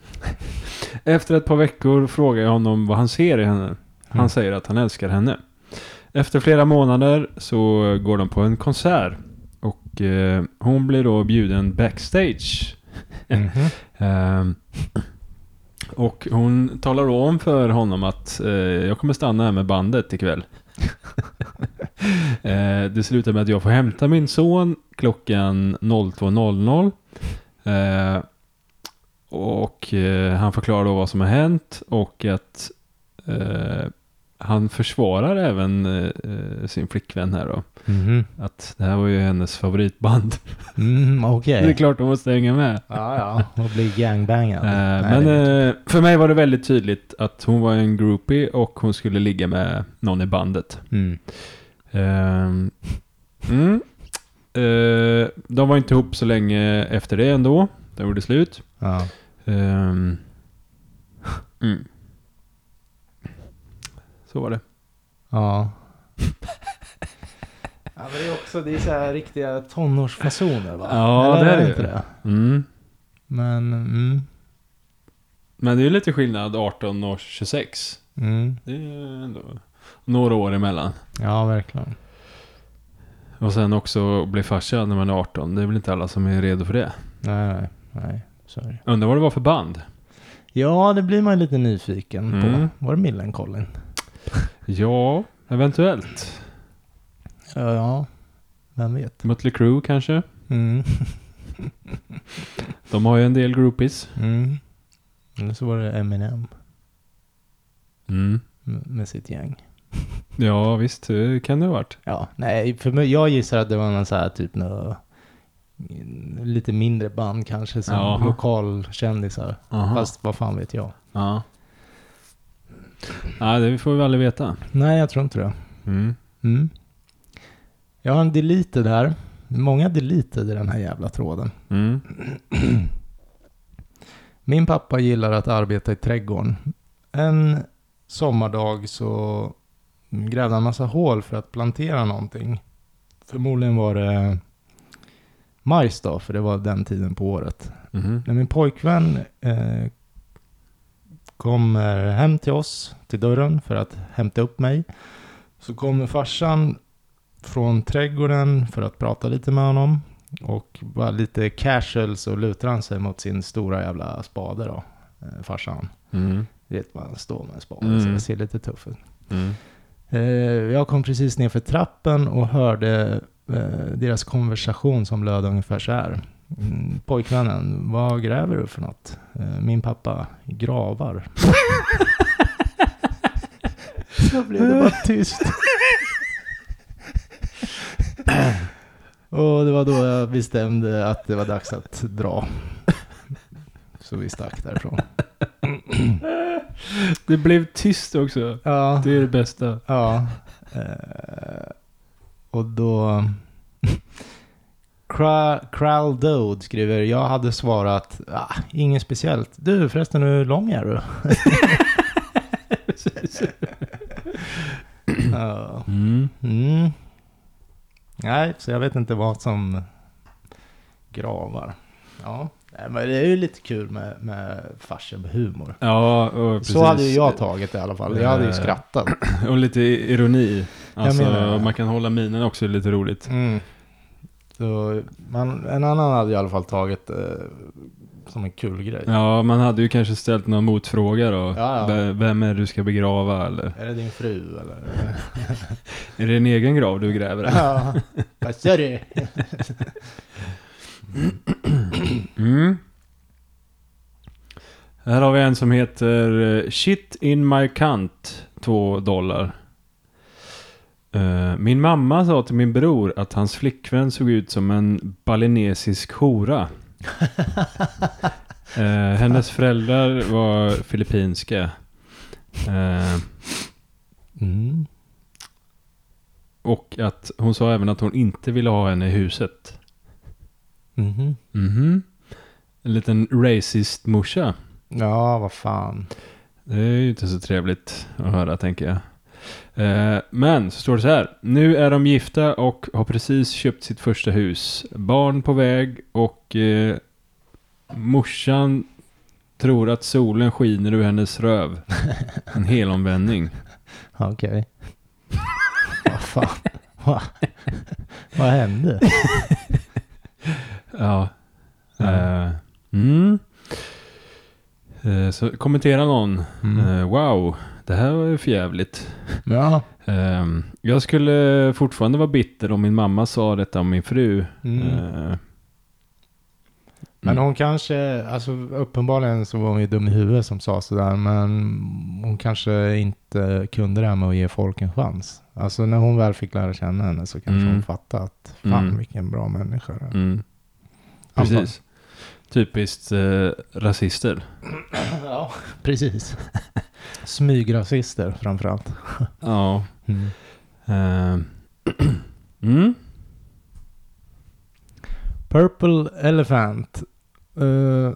Efter ett par veckor frågar jag honom vad han ser i henne. Han
Mm.
säger att han älskar henne. Efter flera månader så går de på en konsert. Och eh, hon blir då bjuden backstage.
Mhm.
Ehm, och hon talar då om för honom att eh, jag kommer stanna här med bandet ikväll. eh, det slutar med att jag får hämta min son klockan 02.00. Eh, och eh, han förklarar då vad som har hänt och att eh, han försvarar även eh, eh, sin flickvän här då.
Mhm.
Att det här var ju hennes favoritband.
Mm, Okej.
Det är klart hon måste hänga med.
Ja, ja. Och bli gangbangad.
Eh,
Nej,
men
det-
eh, för mig var det väldigt tydligt att hon var en groupie och hon skulle ligga med någon i bandet.
Mm.
Ehm, mm. Eh, de var inte ihop så länge efter det ändå. De gjorde slut.
Ja.
Ehm, mm. Så var det.
Ja. ja men det är också det är så här riktiga tonårsfasoner va?
Ja, det är det ju.
inte det.
Mm.
Men, mm,
Men det är ju lite skillnad 18 och 26.
mm.
Det är ändå några år emellan.
Ja, verkligen.
Och sen också bli farsa när man är 18. Det är väl inte alla som är redo för det.
Nej, nej, nej. Sorry.
Undrar vad det var för band?
Ja, det blir man lite nyfiken
Mm.
på. Var det Millencolin?
Ja, eventuellt.
Ja, ja. Vem vet?
Mötley Crüe kanske?
Mm.
De har ju en del groupies.
Mm. Eller så var det Eminem
Mm.
m- med sitt gäng.
Ja, visst. det Kan det ha varit.
Ja, nej, för mig, jag gissar att det var någon så här typ nå, lite mindre band kanske som
Jaha.
lokalkändisar. Fast vad fan vet jag?
Ja. Nej, det får vi aldrig veta.
Nej, jag tror inte det.
Mm.
Mm. Jag har en deleted här. Många deleted i den här jävla tråden.
Mm.
Min pappa gillar att arbeta i trädgården. En sommardag så grävde han massa hål för att plantera någonting. Förmodligen var det majs då, för det var den tiden på året.
Mhm.
När min pojkvän eh, kommer hem till oss, till dörren, för att hämta upp mig. Så kommer farsan från trädgården för att prata lite med honom. Och bara lite casual så lutar han sig mot sin stora jävla spade då, eh, farsan.
Mm.
Du vet, man står med en spade så
Mm.
det ser lite tuff ut.
Mm.
Eh, jag kom precis ner för trappen och hörde eh, deras konversation som löd ungefär så här. Mm, pojkvännen, vad gräver du för något? Eh, min pappa, gravar. så blev det bara tyst. och det var då jag bestämde att det var dags att dra. Så vi stack därifrån.
Det blev tyst också.
Ja.
Det är det bästa.
Ja. Eh, och då... Cra- Kral Dode skriver, jag hade svarat, ah, inget speciellt. Du förresten, hur lång är du? Ja.
Mm.
mm. Nej, så jag vet inte vad som gravar. Ja, Nej, men det är ju lite kul med, med farsen med humor.
Ja, och precis.
Så hade ju jag tagit det i alla fall. Jag hade ju
Eh.
skrattat.
Och lite ironi.
Jag
Alltså,
menar det.
man kan hålla minen också, det är lite roligt.
Mm. Så, man, en annan hade jag i alla fall tagit eh, som en kul grej.
Ja, man hade ju kanske ställt någon motfråga då.
Mm. Ja, ja.
V- Vem är det du ska begrava eller?
Är det din fru eller?
Är det en egen grav du gräver?
Ja. Vad sa du?
Mm. Här har vi en som heter eh, Shit in my cunt 2 dollar. Eh, Min mamma sa till min bror att hans flickvän såg ut som en balinesisk hora. Eh, hennes föräldrar var filippinska. Eh,
Mm.
och att hon sa även att hon inte ville ha henne i huset.
Mhm.
Mhm. En liten racist morsa.
Ja, vad fan.
Det är ju inte så trevligt att höra, tänker jag. Eh, Men så står det så här. Nu är de gifta och har precis köpt sitt första hus. Barn på väg och eh, morsan tror att solen skiner ur hennes röv. En helomvändning.
Ja, Okej. vad fan. Va? vad hände?
Ja. Eh, Mm. Eh, Så kommenterar någon.
Mm.
eh, Wow, det här var ju för jävligt.
Ja.
Ehm, Jag skulle fortfarande vara bitter om min mamma sa detta om min fru.
Mm.
Eh,
Men hon kanske, alltså uppenbarligen så var hon ju dum i huvudet som sa sådär, men hon kanske inte kunde det här med att ge folk en chans. Alltså när hon väl fick lära känna henne så kanske
Mm.
hon fattade att fan
Mm.
vilken bra människa det är.
Mm. Precis. Typiskt eh, rasister.
Ja, precis. Smygrasister framförallt.
Ja.
Mm.
ehm. mm.
Purple Elephant. Eh,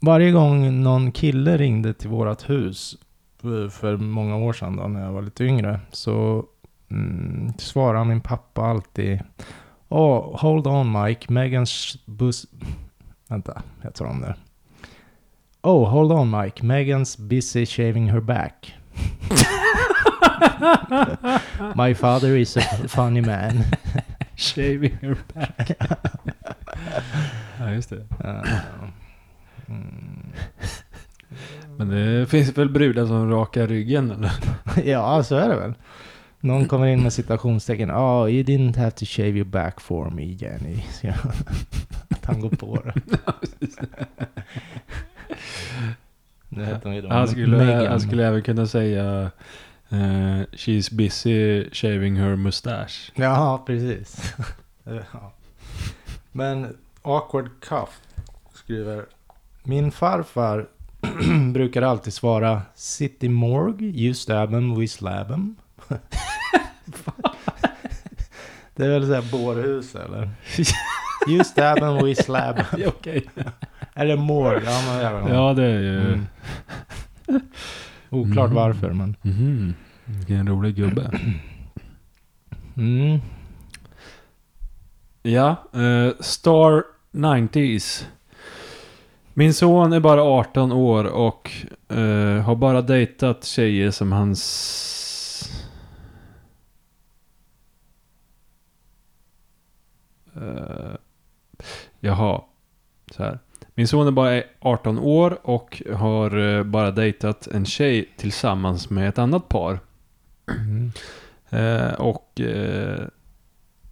varje gång någon kille ringde till vårt hus eh, för många år sedan då, när jag var lite yngre så mm, svarade min pappa alltid Oh, hold on Mike, Megans bus... Vänta, jag tar om det. Oh, hold on Mike, Megans busy shaving her back. My father is a funny man.
Shaving her back. ja, just det.
Eh, mm.
Men det finns väl brudar som rakar ryggen eller?
ja, så är det väl. Någon kommer in med citationstecken. Oh, you didn't have to shave your back for me, Jenny. Så jag- Att han går på det. Nu heter hon ju då
Han skulle,
Meghan.
han skulle även kunna säga eh, She's busy shaving her mustache.
Ja, precis. ja. Men awkward cuff skriver. Min farfar brukar alltid svara City Morg, you stab 'em, we slab 'em. Det är väl såhär bårhus eller? You stab 'em, we slab 'em.
Ja, Okej.
Eller morg, ja men jag vet
Ja, det är ju...
Mm. Oklart
Mm.
varför men.
Mhm. Vilken rolig gubbe.
Mm.
Ja, eh, Star 90s. Min son är bara 18 år och eh, har bara dejtat tjejer som hans... Eh, jaha, så här. Min son är bara 18 år och har eh, bara dejtat en tjej tillsammans med ett annat par.
Mm.
Eh, och eh,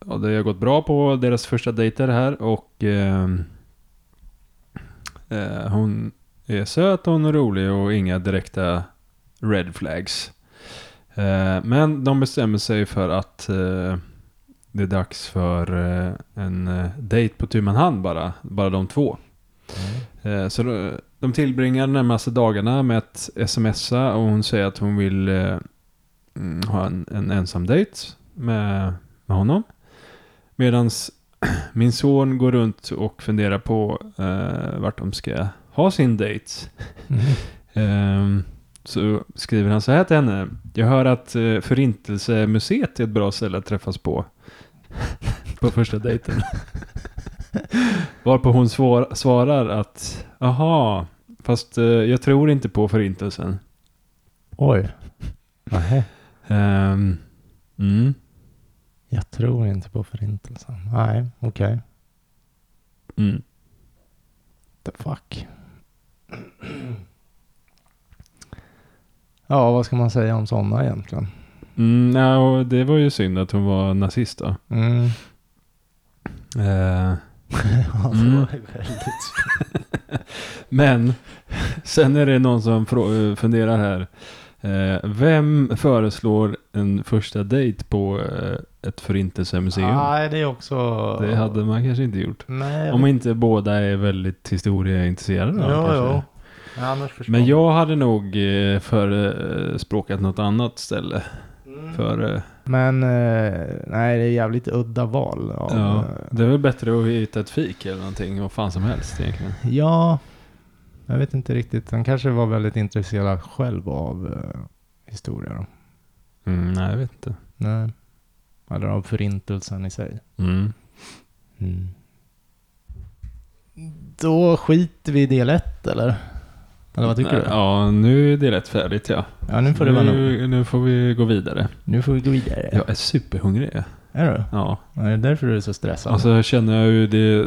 ja, det har gått bra på deras första dejter här och eh, eh, hon är söt, hon är rolig och inga direkta red flags. Eh, men de bestämmer sig för att eh, det är dags för eh, en eh, dejt på tu man hand bara, bara de två. Eh, Så då- de tillbringar de närmaste dagarna med att smsa och hon säger att hon vill eh, mm, ha en, en ensam dejt med, med honom. Medan min son går runt och funderar på eh, vart de ska ha sin dejt.
Mm.
Ehm, så skriver han så här till henne. Jag hör att eh, Förintelsemuseet är ett bra ställe att träffas på. på första dejten. Varpå hon svar, svarar att, aha, fast eh, jag tror inte på Förintelsen.
Oj. Nähä.
Ehm, mm.
Jag tror inte på förintelsen. Nej, okej.
Mm.
The fuck. Ja, vad ska man säga om sådana egentligen?
Mm, ja, och det var ju synd att hon var nazist då.
Mm.
Eh,
ja, det
Mm.
var ju väldigt...
Men sen är det någon som frå- eh, funderar här. Eh, vem föreslår en första dejt på eh, ett förintelsemuseum?
Nej, det är också...
Det hade man kanske inte gjort.
Nej,
Om inte båda är väldigt historieintresserade. då,
Jo,
kanske.
jo. Ja, annars förstår
Men jag hade nog eh, förespråkat något annat ställe.
Mm.
För, eh,
Men eh, nej, det är jävligt udda val. Av,
ja,
ja. eh,
det är väl bättre att hitta ett fik eller någonting, vad fan som helst egentligen.
ja, jag vet inte riktigt. Han kanske var väldigt intresserad själv av eh, historia då.
Mm, nej, jag vet inte.
Nej. Eller av förintelsen i sig.
Mm.
Mm. Då skiter vi i del ett eller? Eller vad tycker
Nej,
du?
Ja, nu är det rätt färdigt ja.
Ja, nu får det vara nog.
nu, nu får vi gå vidare.
Nu får vi gå vidare.
Jag är superhungrig.
Är du?
Ja.
Ja, det är därför du är så stressad.
Alltså jag känner jag ju det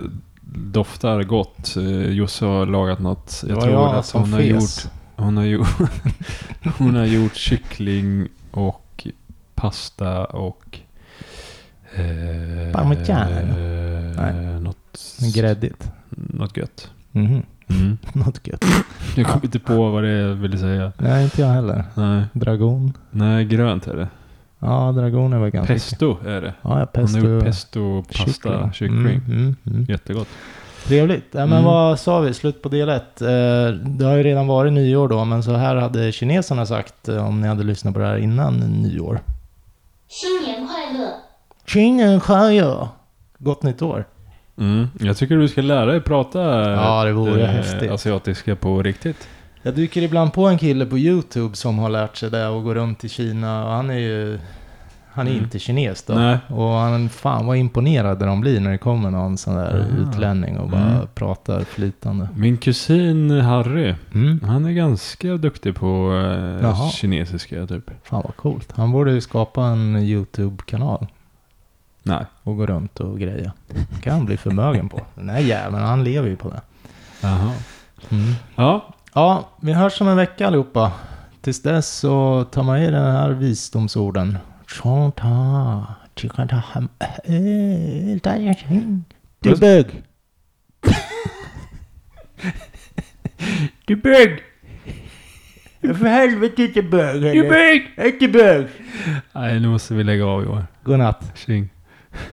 doftar gott. Eh, Josse har lagat något.
Det
Jag
var
tror att
som
hon har,
fes.
gjort, hon, har gjort, hon har gjort kyckling och pasta och... Eh,
Parmigiano?
Eh,
Nej.
Något,
Gräddigt.
något gött.
Mhm.
Mm.
Något gött.
Jag kom inte på vad det är jag ville säga.
Nej, inte jag heller.
Nej,
Dragon.
nej grönt är det.
Ja, dragon är väl ganska...
Pesto är det.
Ja, ja,
Hon
pesto.
har gjort pesto, pasta, kyckling.
Mm, mm, mm.
Jättegott.
Trevligt. Ja, men
Mm.
vad sa vi? Slut på del ett. Eh, Det har ju redan varit nyår då, men så här hade kineserna sagt eh, om ni hade lyssnat på det här innan nyår.
新年快乐，
Qingen Shaya. Gott nytt år.
Mm. Jag tycker du ska lära dig prata
Ja, det vore
eh,
häftigt.
asiatiska på riktigt.
Jag dyker ibland på en kille på YouTube som har lärt sig det och går runt i Kina och han är ju... Han är
Mm.
inte kines då.
Nej.
Och han, fan vad imponerade de blir när det kommer någon sån där
Ah.
utlänning och bara
Mm.
pratar flytande.
Min kusin Harry,
Mm.
han är ganska duktig på eh,
Jaha.
kinesiska typ.
Fan vad coolt. Han borde ju skapa en YouTube-kanal.
Nej.
och gå runt och greja. kan han bli förmögen på. Den här jäveln, han lever ju på det.
Jaha.
Mm.
Ja,
Ja, vi hörs om en vecka allihopa. Tills dess så ta med er den här visdomsorden. Chanta, chikanta, ham- eh, dai- ching. Du bög! Du bög! För helvete inte bög! Du bög! Inte bög!
nej nu måste vi lägga av Johan.
Godnatt.
Tjing.